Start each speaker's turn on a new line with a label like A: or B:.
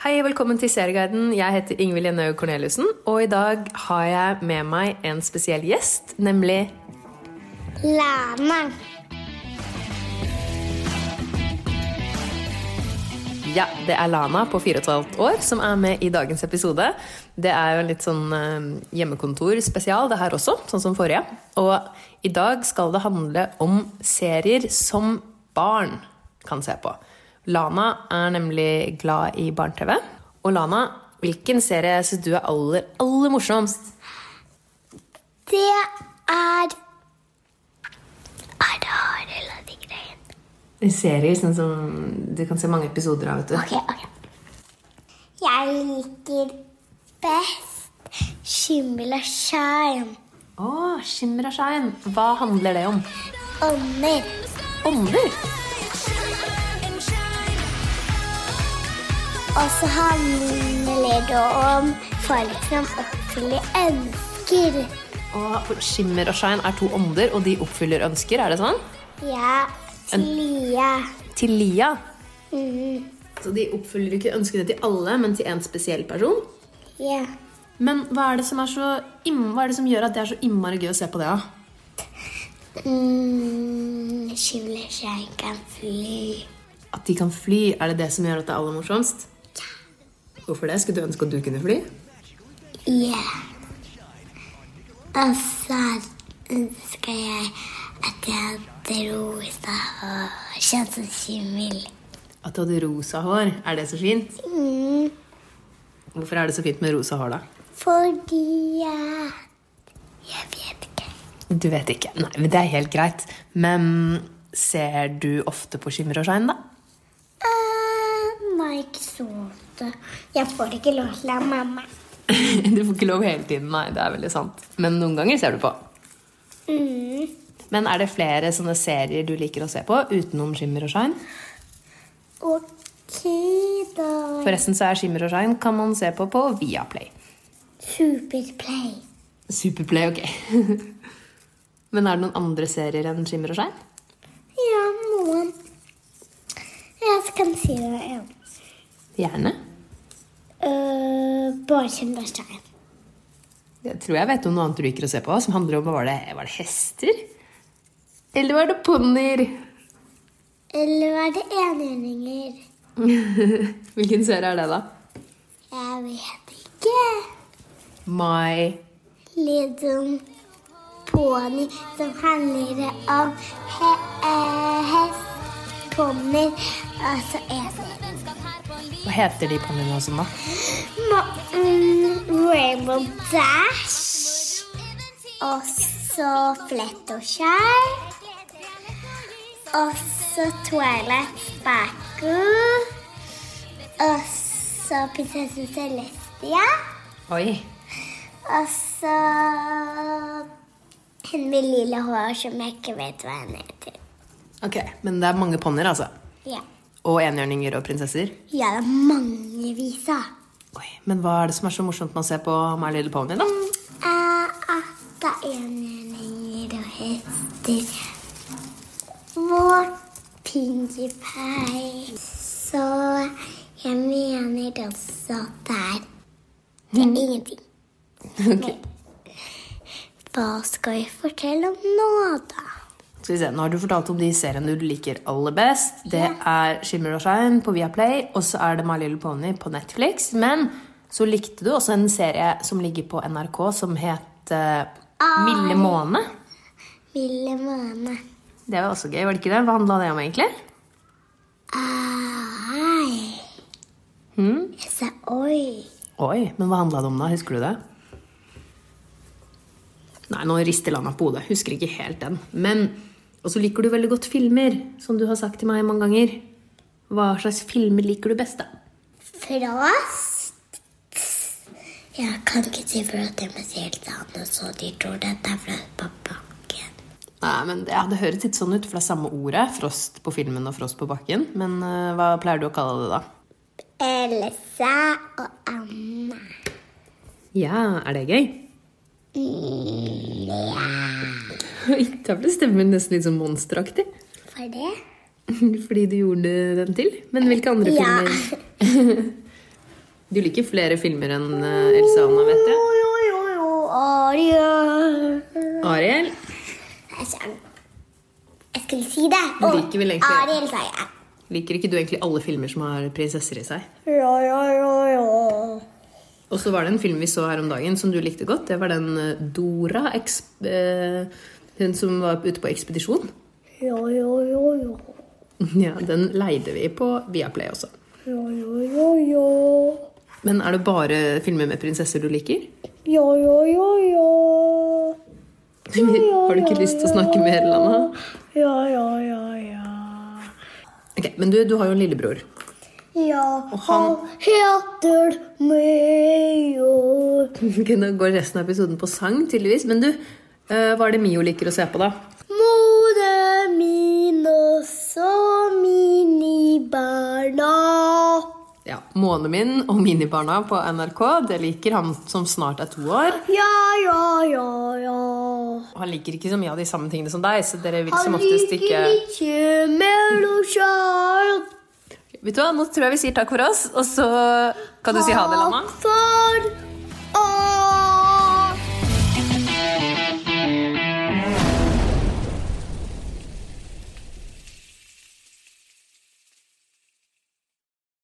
A: Hei, velkommen til Serieguiden. Jeg heter Ingvild Jennaug Corneliussen, og i dag har jeg med meg en spesiell gjest, nemlig
B: Læreren.
A: Ja, det er Lana på 4,5 år som er med i dagens episode. Det er jo en litt sånn eh, hjemmekontor-spesial, det her også, sånn som forrige. Og i dag skal det handle om serier som barn kan se på. Lana er nemlig glad i barne-TV. Og Lana, hvilken serie syns du er aller, aller morsomst?
B: Det er Er det hard eller de greiene?
A: Serier sånn som du kan se mange episoder av, vet du.
B: Ok, ok. Jeg liker best skimmel og skjerm.
A: Å, Shimmer og Shine. Hva handler det om?
B: Ånder.
A: Ånder?
B: Og så handler det om folk som oppfyller ønsker.
A: Og Shimmer og Shine er to ånder, og de oppfyller ønsker, er det sånn?
B: Ja, Lia.
A: Til Lia.
B: Mm,
A: Så de oppfyller ikke ønskene til alle, men til en spesiell person.
B: ja.
A: Men hva er det som, er så imm- hva er det som gjør at det er så innmari gøy å se på det, da?
B: Mm, skimmel og skjerm kan fly.
A: At de kan fly, er det det som gjør at det er aller morsomst? Hvorfor det? Skulle du ønske at du kunne fly?
B: Ja. Og så ønsker jeg at jeg hadde rosa og kjent som skimmel.
A: At du hadde rosa hår, er det så fint?
B: Mm,
A: Hvorfor er det så fint med rosa hår, da?
B: fordi jeg Jeg vet ikke.
A: Du vet ikke. Nei, men det er helt greit. Men ser du ofte på Skimmer og Shine, da?
B: Eh, nei, ikke så ofte. Jeg får ikke lov til av mamma.
A: Du får ikke lov hele tiden, nei. Det er veldig sant. Men noen ganger ser du på.
B: Mm.
A: Men er det flere sånne serier du liker å se på utenom Skimmer og Shine?
B: Ok, da.
A: Forresten så er Skimmer og Shine kan man se på på Viaplay.
B: Superplay.
A: Superplay, ok. Men er det noen andre serier enn Skimmer og Shine?
B: Ja, noen. Jeg kan si det en.
A: Gjerne.
B: Uh, bare skimmel og skjerm.
A: Jeg tror jeg vet om noe annet du liker å se på, som handler om var det, var det hester? Eller var det ponnier?
B: Eller var det enhjørninger?
A: Hvilken serie er det, da?
B: Jeg vet ikke.
A: My
B: Liksom ponni som handler om he eh, hest, Altså, ponnier og så enhjørninger.
A: Hva heter de ponniene og sånn, da?
B: Ma- mm, Rainbow Dash. Og så Flett og Skjær. Og så Twilight Sparkle. Og så Prinsesse Celestia.
A: Oi.
B: Og så Altså, hun med lille hår som jeg ikke vet hva hun heter.
A: Ok, Men det er mange ponnier, altså?
B: Ja,
A: Og enhjørninger og prinsesser?
B: ja det er mange viser.
A: Oi, Men hva er det som er så morsomt med å se på My Little Pony, da?
B: Eh, at det er enhjørninger og hester. Vår Pinkie Pie. Så jeg mener også at det er Det er ingenting.
A: Ok,
B: Hva skal vi fortelle om nå, da?
A: skal vi se, Nå har du fortalt om de seriene du liker aller best. Det er Shimmer og Shine på Viaplay, og så er det My Little Pony på Netflix. Men så likte du også en serie som ligger på NRK som het eh, Milde måne.
B: Ville måne.
A: Det var også gøy, var det ikke det? Hva handla det om, egentlig?
B: Ah, Ai.
A: Hmm?
B: Jeg sa oi.
A: Oi, men hva handla det om, da? Husker du det? Nei, nå rister Lana på hodet. Husker ikke helt den. Men Og så liker du veldig godt filmer, som du har sagt til meg mange ganger. Hva slags filmer liker du best, da?
B: Frost? Jeg kan ikke si frost, jeg må si helt annet, så de tror dette er frost på bakken.
A: Nei, men det, ja, det høres litt sånn ut, for det er samme ordet. Frost på filmen og frost på bakken. Men eh, hva pleier du å kalle det, da?
B: Elsa og Anna.
A: Ja, er det gøy? Oi, Da ble stemmen nesten litt sånn monsteraktig.
B: For det?
A: Fordi du gjorde den til. Men hvilke andre
B: Ja.
A: filmer Du liker flere filmer enn eh, Else Anna, vet jeg.
B: Jo, jo, jo, Ariel.
A: Ariel.
B: Jeg skjønner. Jeg skulle si det.
A: Du liker vel egentlig-
B: Ariel, sa jeg.
A: Liker ikke du egentlig alle filmer som har prinsesser i seg?
B: Ja, ja, ja, ja.
A: Og så var det en film vi så her om dagen som du likte godt. Det var den eh, Dora, eksp eh, hun som var ute på ekspedisjon.
B: Ja, ja, ja, ja.
A: Ja, Den leide vi på Viaplay også.
B: Ja, ja, ja, ja.
A: Men er det bare filmer med prinsesser du liker?
B: Ja, ja, ja, ja.
A: Har du ikke lyst til å snakke mer, Lana?
B: Ja, ja, ja, ja.
A: Ok, Men du, du har jo en lillebror.
B: Ja,
A: Og han-
B: heter Major.
A: Ok, Nå går resten av episoden på sang, tydeligvis. Men du, eh, hva er det Mio liker å se på, da?
B: Moren min og så minibarna.
A: Ja, Månen min og Minibarna på NRK. Det liker han som snart er to år.
B: Ja, ja, ja, ja.
A: Og han liker ikke så mye av de samme tingene som deg, så dere vil
B: Han
A: som oftest ikke
B: liker ikke melosjar.
A: Vet du hva, Nå tror jeg vi sier takk for oss, og så kan du si ha det, Lana.
B: Takk for